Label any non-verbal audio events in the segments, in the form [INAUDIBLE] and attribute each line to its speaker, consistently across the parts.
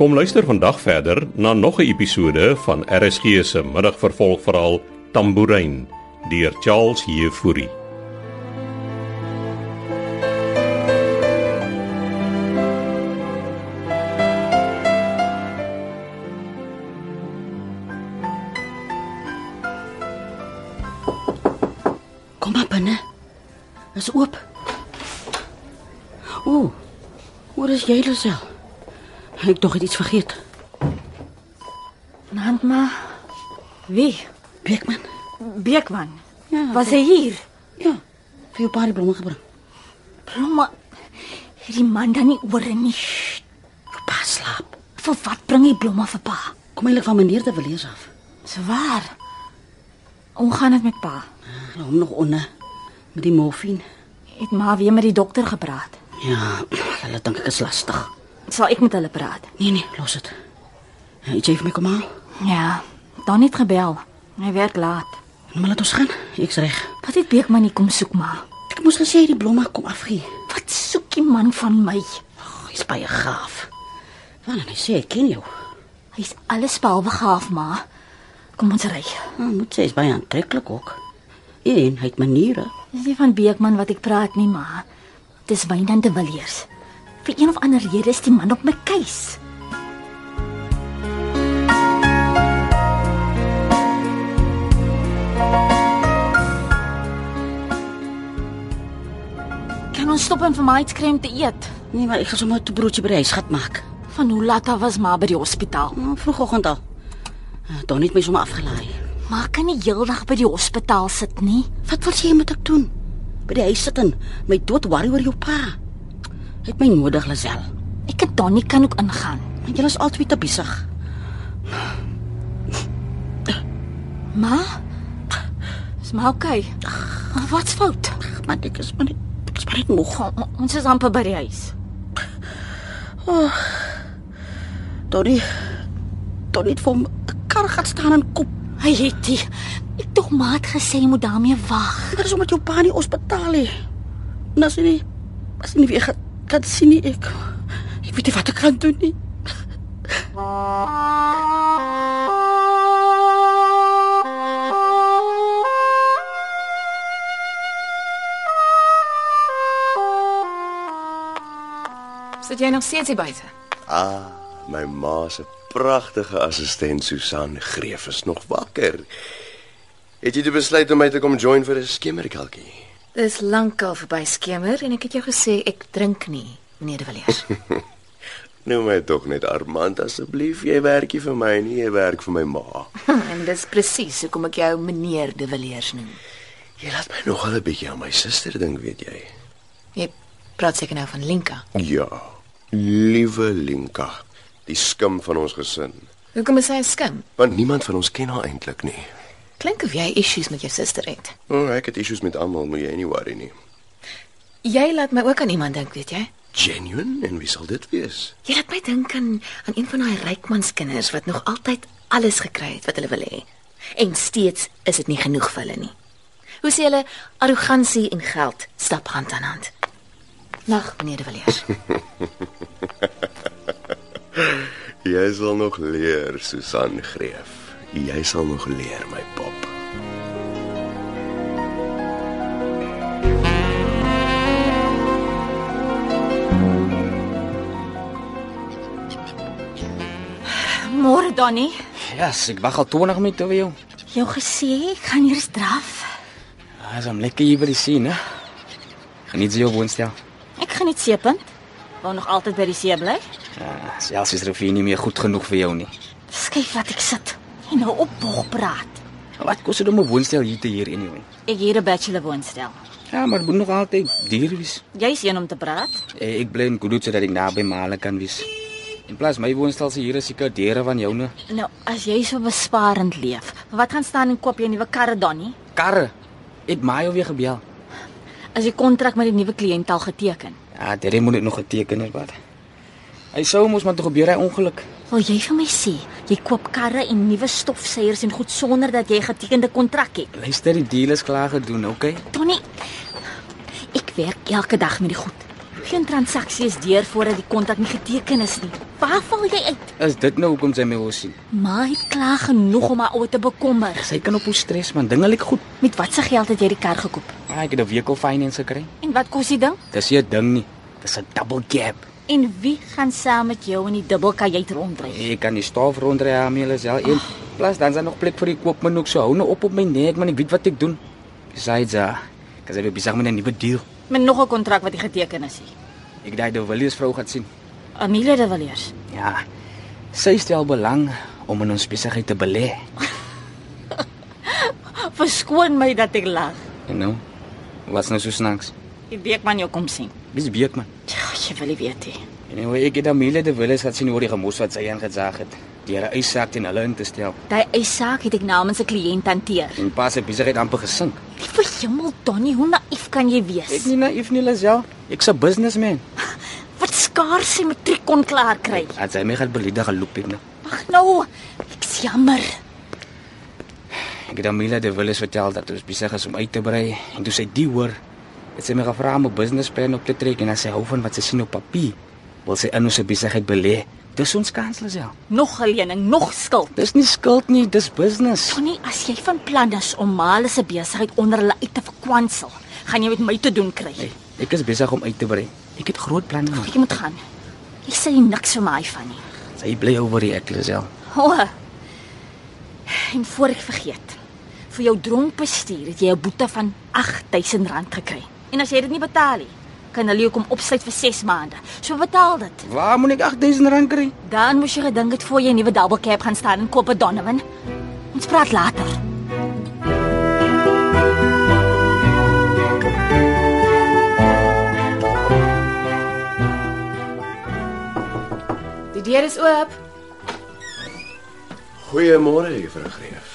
Speaker 1: Kom luister vandag verder na nog 'n episode van RSG se middagvervolgverhaal Tambourine deur Charles Jefouri.
Speaker 2: Kom maar binne. Is oop. Ooh. Waar is jy, Lisel? Ek dog het iets vergeet.
Speaker 3: Hand maar. Wie?
Speaker 2: Beekman.
Speaker 3: Beekman.
Speaker 2: Ja,
Speaker 3: Was hy hier?
Speaker 2: Ja. Vir jou paar blomme gebring.
Speaker 3: Blomme. Hierdie man dan nie oor nie. Sst.
Speaker 2: Jou pa slaap.
Speaker 3: Vir wat bring hy blomme vir pa?
Speaker 2: Kom eintlik van meneer te verlees af.
Speaker 3: Swaar. Hoe gaan dit met pa?
Speaker 2: Ja, hom nog onder met die morfine.
Speaker 3: Het ma weer met die dokter gepraat?
Speaker 2: Ja, hulle dink ek is lastig.
Speaker 3: Sal ek met hulle praat?
Speaker 2: Nee nee, los dit. Ja, Jy het my kom haal.
Speaker 3: Ja, dan het gebel. Hy werk laat.
Speaker 2: Maar laat ons gaan. Ek's reg.
Speaker 3: Wat het Beekman nie kom soek ma?
Speaker 2: Ek moes gesê die blomme kom afgee.
Speaker 3: Wat soek die man van my?
Speaker 2: Oh, hy's baie gaaf. Want hy sê ek ken jou.
Speaker 3: Hy's alles behalwe gaaf ma. Kom ons ry.
Speaker 2: Nou, moet sê, is baie aantreklik ook. En hy het maniere.
Speaker 3: Dis nie van Beekman wat ek praat nie, ma. Dis Wynand de Villiers. Vir een of ander rede is die man op my keus. Kan ons stop en vir my iets krem te eet?
Speaker 2: Nee, maar ek gaan sommer 'n broodjie by die huis gat maak.
Speaker 3: Van hoe laat af was ma by die hospitaal?
Speaker 2: Nou, vroegoggend al. Eh, Don het my sommer afgelaai.
Speaker 3: Ma kan nie heeldag by die hospitaal sit nie.
Speaker 2: Wat wil jy moet ek doen? By die huis sit en my dood worry oor jou pa. Hy het my nodig, Lazel.
Speaker 3: Ek en Donnie kan ook ingaan.
Speaker 2: Want julle is altyd te besig.
Speaker 3: Ma? Is maar oké. Okay. Wat's fout?
Speaker 2: Ag, maar ek is maar net ek is maar net moeg.
Speaker 3: Kom, o- ons is amper by die huis.
Speaker 2: Donnie Don het vir hom 'n kar gaan staan en kop.
Speaker 3: Hy het die ek tog maat gesê jy moet daarmee wag.
Speaker 2: Dit is omdat jou pa nie hospitaal hè. En as hy nie as hy nie weer gaan kan sien nie ek. Ek weet nie wat ek kan doen nie.
Speaker 4: Sit jy nog steeds hier buite?
Speaker 5: Ah, my ma se pragtige assistent Susan Greef is nog wakker. Het jy toe besluit om my te kom join vir 'n skimmerkelkie?
Speaker 4: Dis lankal verby skemer en ek het jou gesê ek drink nie, meneer De [LAUGHS] Villiers.
Speaker 5: Noem my tog net Armand asseblief. Jy werk nie vir my nie, jy werk vir my ma.
Speaker 4: [LAUGHS] en dis presies hoekom ek jou meneer De Villiers noem.
Speaker 5: Jy laat my nogal 'n bietjie aan my suster dink, weet jy.
Speaker 4: Jy praat seker nou van Linka.
Speaker 5: Ja. Liewe Linka, die skim van ons gesin.
Speaker 4: Hoekom is hy 'n skim?
Speaker 5: Want niemand van ons ken haar eintlik nie.
Speaker 4: Klink of jy issues met jou suster het.
Speaker 5: O, oh, ek het issues met almal, moet jy nie worry nie.
Speaker 4: Jy laat my ook aan iemand dink, weet jy?
Speaker 5: Genuine en wie sal dit wees?
Speaker 4: Jy laat my dink aan aan een van daai rykmanskinders wat nog altyd alles gekry het wat hulle wil hê. En steeds is dit nie genoeg vir hulle nie. Hoe sê hulle arrogansie en geld stap hand aan hand. Nag, meneer De Villiers.
Speaker 5: Jy sal nog leer, Susan Greef. Jy sal nog leer, my pop.
Speaker 3: Môre Donnie,
Speaker 6: Ja, yes, ek wag al 20 minute vir jou.
Speaker 3: jou gesê ek gaan hier straf.
Speaker 6: As om lekker hier by die see, né? Geniet jy jou woonstel?
Speaker 3: Ek gaan net seepunt. Wou nog altyd by die see bly.
Speaker 6: Ja, selfs is rivier nie meer goed genoeg vir jou nie.
Speaker 3: Skyf wat ek sit. En nou op bog praat.
Speaker 6: Wat kos dit om 'n woonstel hier te huur anyway?
Speaker 3: Ek hier 'n bachelor woonstel.
Speaker 6: Ja, maar dit moet nog altyd duur wees.
Speaker 3: Jy's een om te praat.
Speaker 6: Eh, Ek bly in Goodwood sodat ek naby Male kan wees. In plaas my woonstel se hier is seker deure van joune.
Speaker 3: Nou, as jy so besparend leef, wat gaan staan en koop jy 'n nuwe karre Donnie?
Speaker 6: Karre. Het Mayo weer gebel.
Speaker 3: As jy kontrak met die nuwe kliënt al geteken.
Speaker 6: Ja, dit moet dit nog geteken het wat. Hy sou mos maar toe gebeur hy ongeluk.
Speaker 3: Wil jy vir my sê jy koop karre en nuwe stofsuiers en goed sonder dat jy 'n getekende kontrak het?
Speaker 6: Luister, die deal is klaar gedoen, okay?
Speaker 3: Tony, ek werk elke dag met die goed. Geen transaksie is deur voordat die kontak nie geteken is nie. Waar val jy uit?
Speaker 6: Is dit nou hoekom sy my wil sien?
Speaker 3: Ma het klaar genoeg om haar oor te bekommer.
Speaker 6: Sy kan op hoe stres man, dinge lyk goed.
Speaker 3: Met watse geld het jy die kar gekoop?
Speaker 6: Ah, ek het 'n vehicle finance gekry.
Speaker 3: En wat kos die ding?
Speaker 6: Dis nie 'n ding nie. Dis 'n double cab.
Speaker 3: En wie gaan saam met jou in die dubbelkajuit ronddry?
Speaker 6: Jy kan die staaf rondry ja, aan hulle self en plus dan is daar nog plek vir die koopman ook. So hou nou op op my nek man, ek weet wat ek doen. Besides, uh, kan sy weer besig met 'n nuwe deal.
Speaker 3: Met nog 'n kontrak wat nie geteken is nie.
Speaker 6: Ek daai die Willies vrou gaan sien.
Speaker 3: Amelia de Villiers.
Speaker 6: Ja. Sy stel belang om in ons besigheid te belê.
Speaker 3: Verskoon my dat ek lag.
Speaker 6: En nou, wat's nou so snaaks?
Speaker 3: Die weekman jou kom sien.
Speaker 6: Dis Beekman.
Speaker 3: Ja, jy wil nie weet nie.
Speaker 6: Anyway, ek het Amelia de Willis gaan sien oor die gemos wat sy ingesaag het. Deur 'n yssak teen hulle in te stel.
Speaker 3: Daai eissaak het ek namens 'n kliënt hanteer.
Speaker 6: En pas sy besigheid amper gesink.
Speaker 3: Liewe hemel, Donnie, hoe naïef kan jy
Speaker 6: Ek
Speaker 3: wees?
Speaker 6: nie naïef nie, Lisel. Ek's 'n businessman.
Speaker 3: Wat skaars sy matriek kon klaar kry.
Speaker 6: As hy my gaan beledig geloop het nou.
Speaker 3: Ag nou, ek's jammer.
Speaker 6: Ek het Amila de Willis vertel dat ons besig is om uit te brei en toe sy die hoor, het sy my gevra om 'n businessplan op te trek en as sy hou van wat sy sien op papier, wil sy in ons besigheid belê. Dis ons kans, Lisel.
Speaker 3: Nog 'n lening, nog skuld.
Speaker 6: Dis nie skuld nie, dis business.
Speaker 3: Donnie, as jy van plan is om Male se besigheid onder hulle uit te verkwansel, gaan jy met my te doen kry.
Speaker 6: Hey, ek is besig om uit te brei. Ek het groot planne. man.
Speaker 3: Ek moet gaan. Jy sê jy niks van my van nie.
Speaker 6: Sy bly oor die ja. ek, Lisel.
Speaker 3: O. En voor ek vergeet, vir jou dronk bestuur het jy 'n boete van R8000 gekry. En as jy dit nie betaal nie, kan hulle jou kom opsluit vir 6 maande. So betaal dit.
Speaker 6: Waar moet ek R8000 kry?
Speaker 3: Dan moes jy gedink het voor jy 'n nuwe double cab gaan staan en koop 'n Donovan. Ons praat later.
Speaker 4: Die deur is oop.
Speaker 5: Goeiemôre, Juffrou Greef.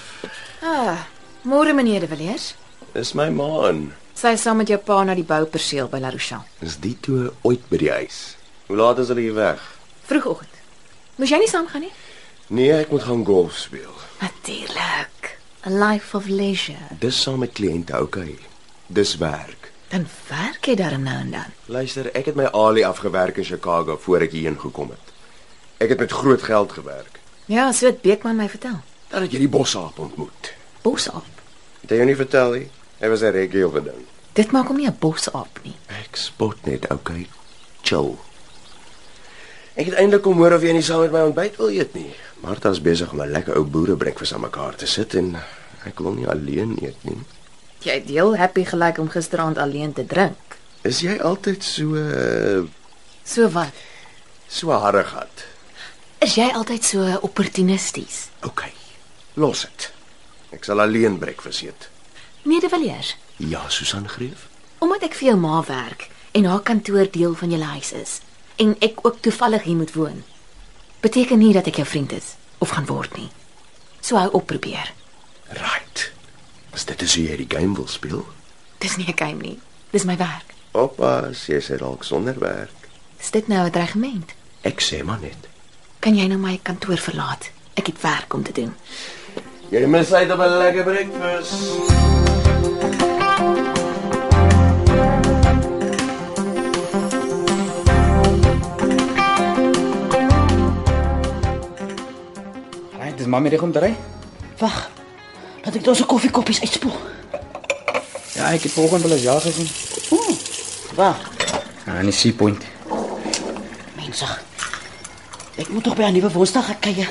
Speaker 4: Ah, môre meneer De Villiers.
Speaker 5: Is my ma in?
Speaker 4: Sy is saam met jou pa na die bouperseel by La Rochelle.
Speaker 5: Is die toe ooit by die huis? Hoe laat is hulle hier weg?
Speaker 4: Vroegoggend. Moes jy nie saamgaan nie?
Speaker 5: Nee, ek moet gaan golf speel.
Speaker 4: Natuurlik. A life of leisure.
Speaker 5: Dis saam met kliënte, okay. Dis werk.
Speaker 4: Dan werk jy daar nou en dan.
Speaker 5: Luister, ek het my alie afgewerk in Chicago voor ek hierheen gekom het. Ek het met groot geld gewerk.
Speaker 4: Ja, so het Beekman my vertel.
Speaker 5: Dan het jy die bossaap ontmoet.
Speaker 4: Bosaap.
Speaker 5: Het jy jou nie vertel nie? Hy was 'n reggie of 'n ding.
Speaker 4: Dit maak hom nie 'n bosaap nie.
Speaker 5: Ek spot net, okay. Chill. Ek het eintlik kom hoor of jy nie saam met my ontbyt wil eet nie. Martha's besig om 'n lekker ou boerebreakfast aan mekaar te sit en ek wil nie alleen eet nie.
Speaker 4: Jy het heel happy gelyk om gisteraand alleen te drink.
Speaker 5: Is jy altyd so eh,
Speaker 4: So wat?
Speaker 5: so harrig gehad?
Speaker 4: Is jy altyd so opportunisties?
Speaker 5: Okay. Los dit. Ek sal alleen breakfast eet.
Speaker 4: Meneer De Villiers,
Speaker 5: Ja, Susan Greef.
Speaker 4: omdat ek vir jou ma werk en haar kantoor deel van julle huis is en ek ook toevallig hier moet woon, beteken nie dat ek jou vriend is of gaan word nie. So hou op probeer.
Speaker 5: Right. As dit is hoe jy die game wil speel.
Speaker 4: Dis nie 'n game nie. Dis my werk.
Speaker 5: Oppas, jy sê dalk sonder werk.
Speaker 4: Is dit nou 'n dreigement?
Speaker 5: Ek sê maar net.
Speaker 4: Kan jy nou my kantoor verlaat? Ek het werk om te doen.
Speaker 5: Jy mis uit op 'n lekker breakfast.
Speaker 6: Right, dis mamma reg om te ry.
Speaker 2: Wag. Laat ek daas koffiekoppies uitspoel.
Speaker 6: Ja, ek het vanoggend wel eens ja gesien.
Speaker 2: Ooh. Wag.
Speaker 6: Ah, nie see point.
Speaker 2: Mense. Ek moet tog by 'n nuwe woonstel gaan kyk.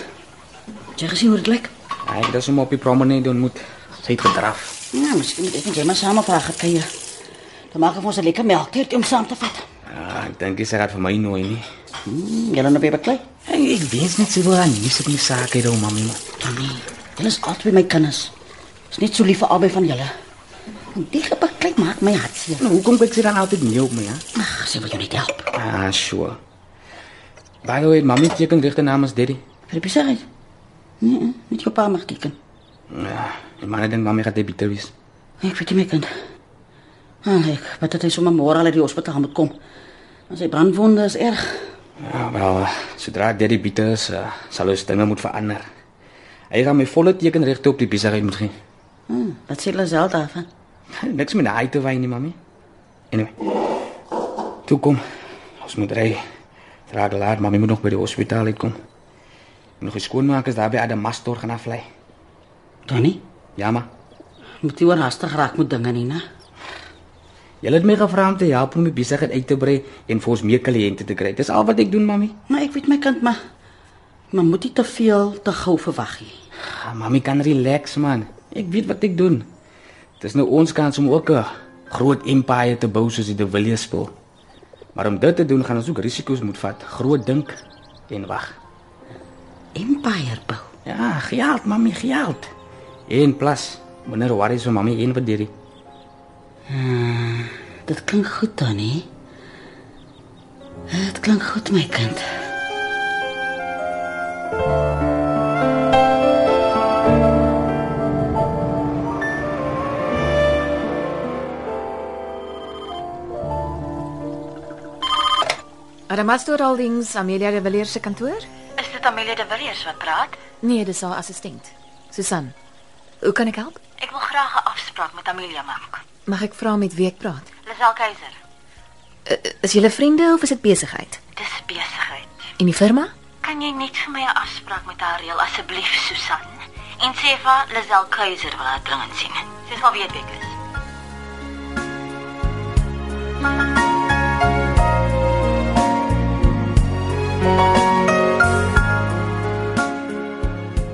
Speaker 2: Jy gesien hoe dit lyk?
Speaker 6: Ah, ek het haar sommer op die promenade ontmoet. Sy het gedraf.
Speaker 2: Nou, miskien moet ek net maar saam vra gaan kyk. Dan maak ek vir ons 'n lekker melktert om saam te vat.
Speaker 6: Ah, ek dink sy gaan vir my nooi nie.
Speaker 2: Mm, jy dan op by beklei.
Speaker 6: Hey, ek weet net sy wil aan nie sit in die saak hê, mami.
Speaker 2: Tannie, dit Oh, is altyd my kinders. Is net so lief vir albei van julle. En die gebeklei maak my hart seer.
Speaker 6: Nou, hoekom kyk sy dan altyd nie op my, hè?
Speaker 2: Ag, sy wil jou net help.
Speaker 6: Ah, sure. By the way, mami teken regte namens Daddy.
Speaker 2: Vir die besigheid. Nee, net jou pa mag teken.
Speaker 6: Ja, die man dink mami gaan debiteur wees.
Speaker 2: Ek weet nie my kind. Ah, ek weet dat hy sommer môre al uit die hospitaal moet kom. Maar sy brandwonde is erg.
Speaker 6: Ja, wel, sodra Daddy bitter is, uh, sal ons dinge moet verander. Hy gaan my volle tekenregte op die besigheid moet gee.
Speaker 2: Hm, wat sê Lazelle
Speaker 6: [LAUGHS]
Speaker 2: daarvan?
Speaker 6: Niks met daai te wyn nie, mami. Anyway. Toe kom. Ons moet ry. Het Raak laat, maar we moeten nog bij de hospitaal uitkom. Nog eens skoonmakers daar by Adamastor gaan aflei.
Speaker 2: Donnie,
Speaker 6: Ja, maar
Speaker 2: moet jy oor haastig raak met dinge nie, né?
Speaker 6: Jy het my gevra om te help om die besigheid uit te brei en vir ons meer kliënte te kry. Dis al wat ek doen, mami.
Speaker 2: Maar ek weet my kind, maar maar moet nie te veel te gou verwag nie.
Speaker 6: Ah, mami kan relax man. Ek weet wat ek doen. Dis nou ons kans om ook 'n groot empire te bou soos die De Villiers speel. Maar om dit te doen gaan ons ook risiko's moet vat, groot dink en wag.
Speaker 2: Empire bou.
Speaker 6: Ja, geld, mami, geld. En plus, wanneer worries vir mami een wat hierdie.
Speaker 2: Dit klink goed, Donnie. Dit klink goed, my kind.
Speaker 4: Aramasto Holdings, Amelia de Villiers se kantoor?
Speaker 3: Is dit Amelia de Villiers wat praat?
Speaker 4: Nee, dis haar assistent. Susan. Hoe kan ek help?
Speaker 3: Ek wil graag 'n afspraak met Amelia maak.
Speaker 4: Mag ek vra met wie ek praat?
Speaker 3: Lisel Keiser,
Speaker 4: Uh, is julle vriende of is dit besigheid?
Speaker 3: dis besigheid.
Speaker 4: En die firma?
Speaker 3: Kan jy net vir my 'n afspraak met haar reël asseblief, Susan? En sê vir haar Lisel Keiser wil haar dringend sien. Sy sal weet wie ek is.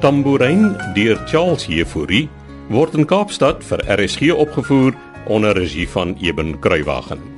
Speaker 1: Tambourijn deur Charles Jefouri word in Kaapstad vir RSG opgevoer onder regie van Eben Kruiwagen.